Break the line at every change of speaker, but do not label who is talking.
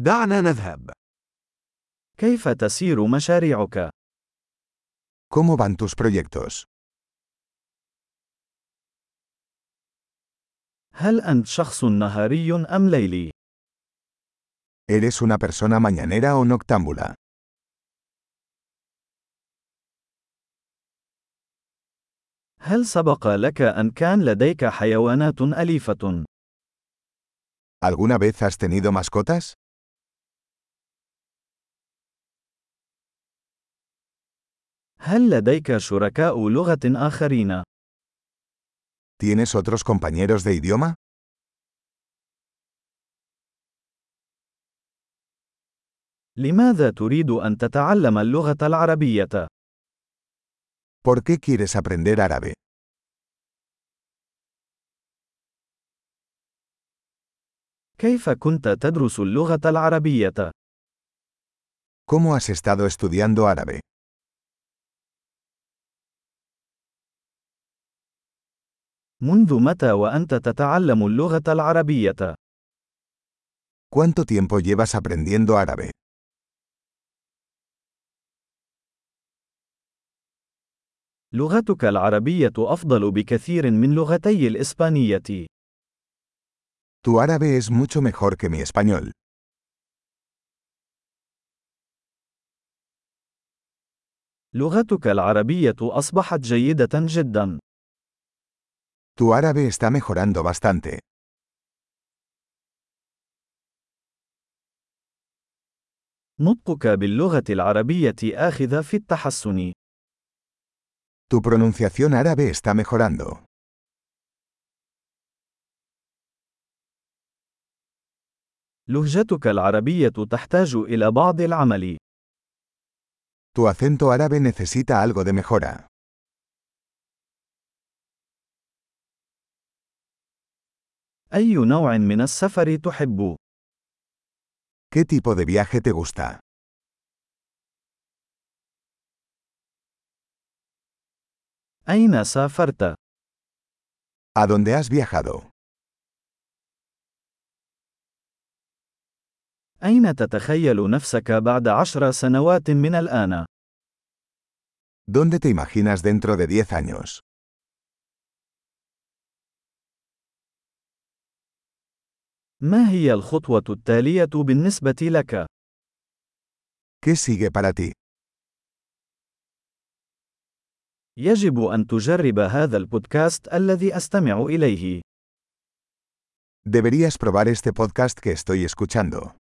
دعنا نذهب.
كيف تسير مشاريعك؟
¿Cómo van tus proyectos?
هل أنت شخص نهاري أم ليلي؟
¿Eres una persona mañanera o noctámbula?
هل سبق لك أن كان لديك حيوانات أليفة؟
¿Alguna vez has tenido mascotas?
هل لديك شركاء لغة آخرين؟
¿Tienes otros compañeros de idioma?
لماذا تريد أن تتعلم اللغة العربية؟
¿Por qué quieres aprender árabe?
كيف كنت تدرس اللغة العربية؟
¿Cómo has estado estudiando árabe?
منذ متى وأنت تتعلم اللغة العربية؟
¿Cuánto tiempo llevas aprendiendo árabe?
لغتك العربية أفضل بكثير من لغتي الإسبانية.
Tu árabe es mucho mejor que mi español.
لغتك العربية أصبحت جيدة جدا.
Tu árabe está mejorando bastante.
نطقك باللغة العربية آخذ في التحسن.
Tu pronunciación árabe está mejorando.
لهجتك العربية تحتاج إلى بعض العمل.
Tu acento árabe necesita algo de mejora.
أي نوع من السفر تحب؟
¿Qué tipo de viaje te gusta?
أين سافرت؟
¿A dónde has viajado?
أين تتخيل نفسك بعد عشر سنوات من الآن؟
¿Dónde te imaginas dentro de 10 años?
ما هي الخطوة التالية بالنسبة لك؟
¿Qué sigue para ti?
يجب أن تجرب هذا البودكاست الذي أستمع إليه.
Deberías probar este podcast que estoy escuchando.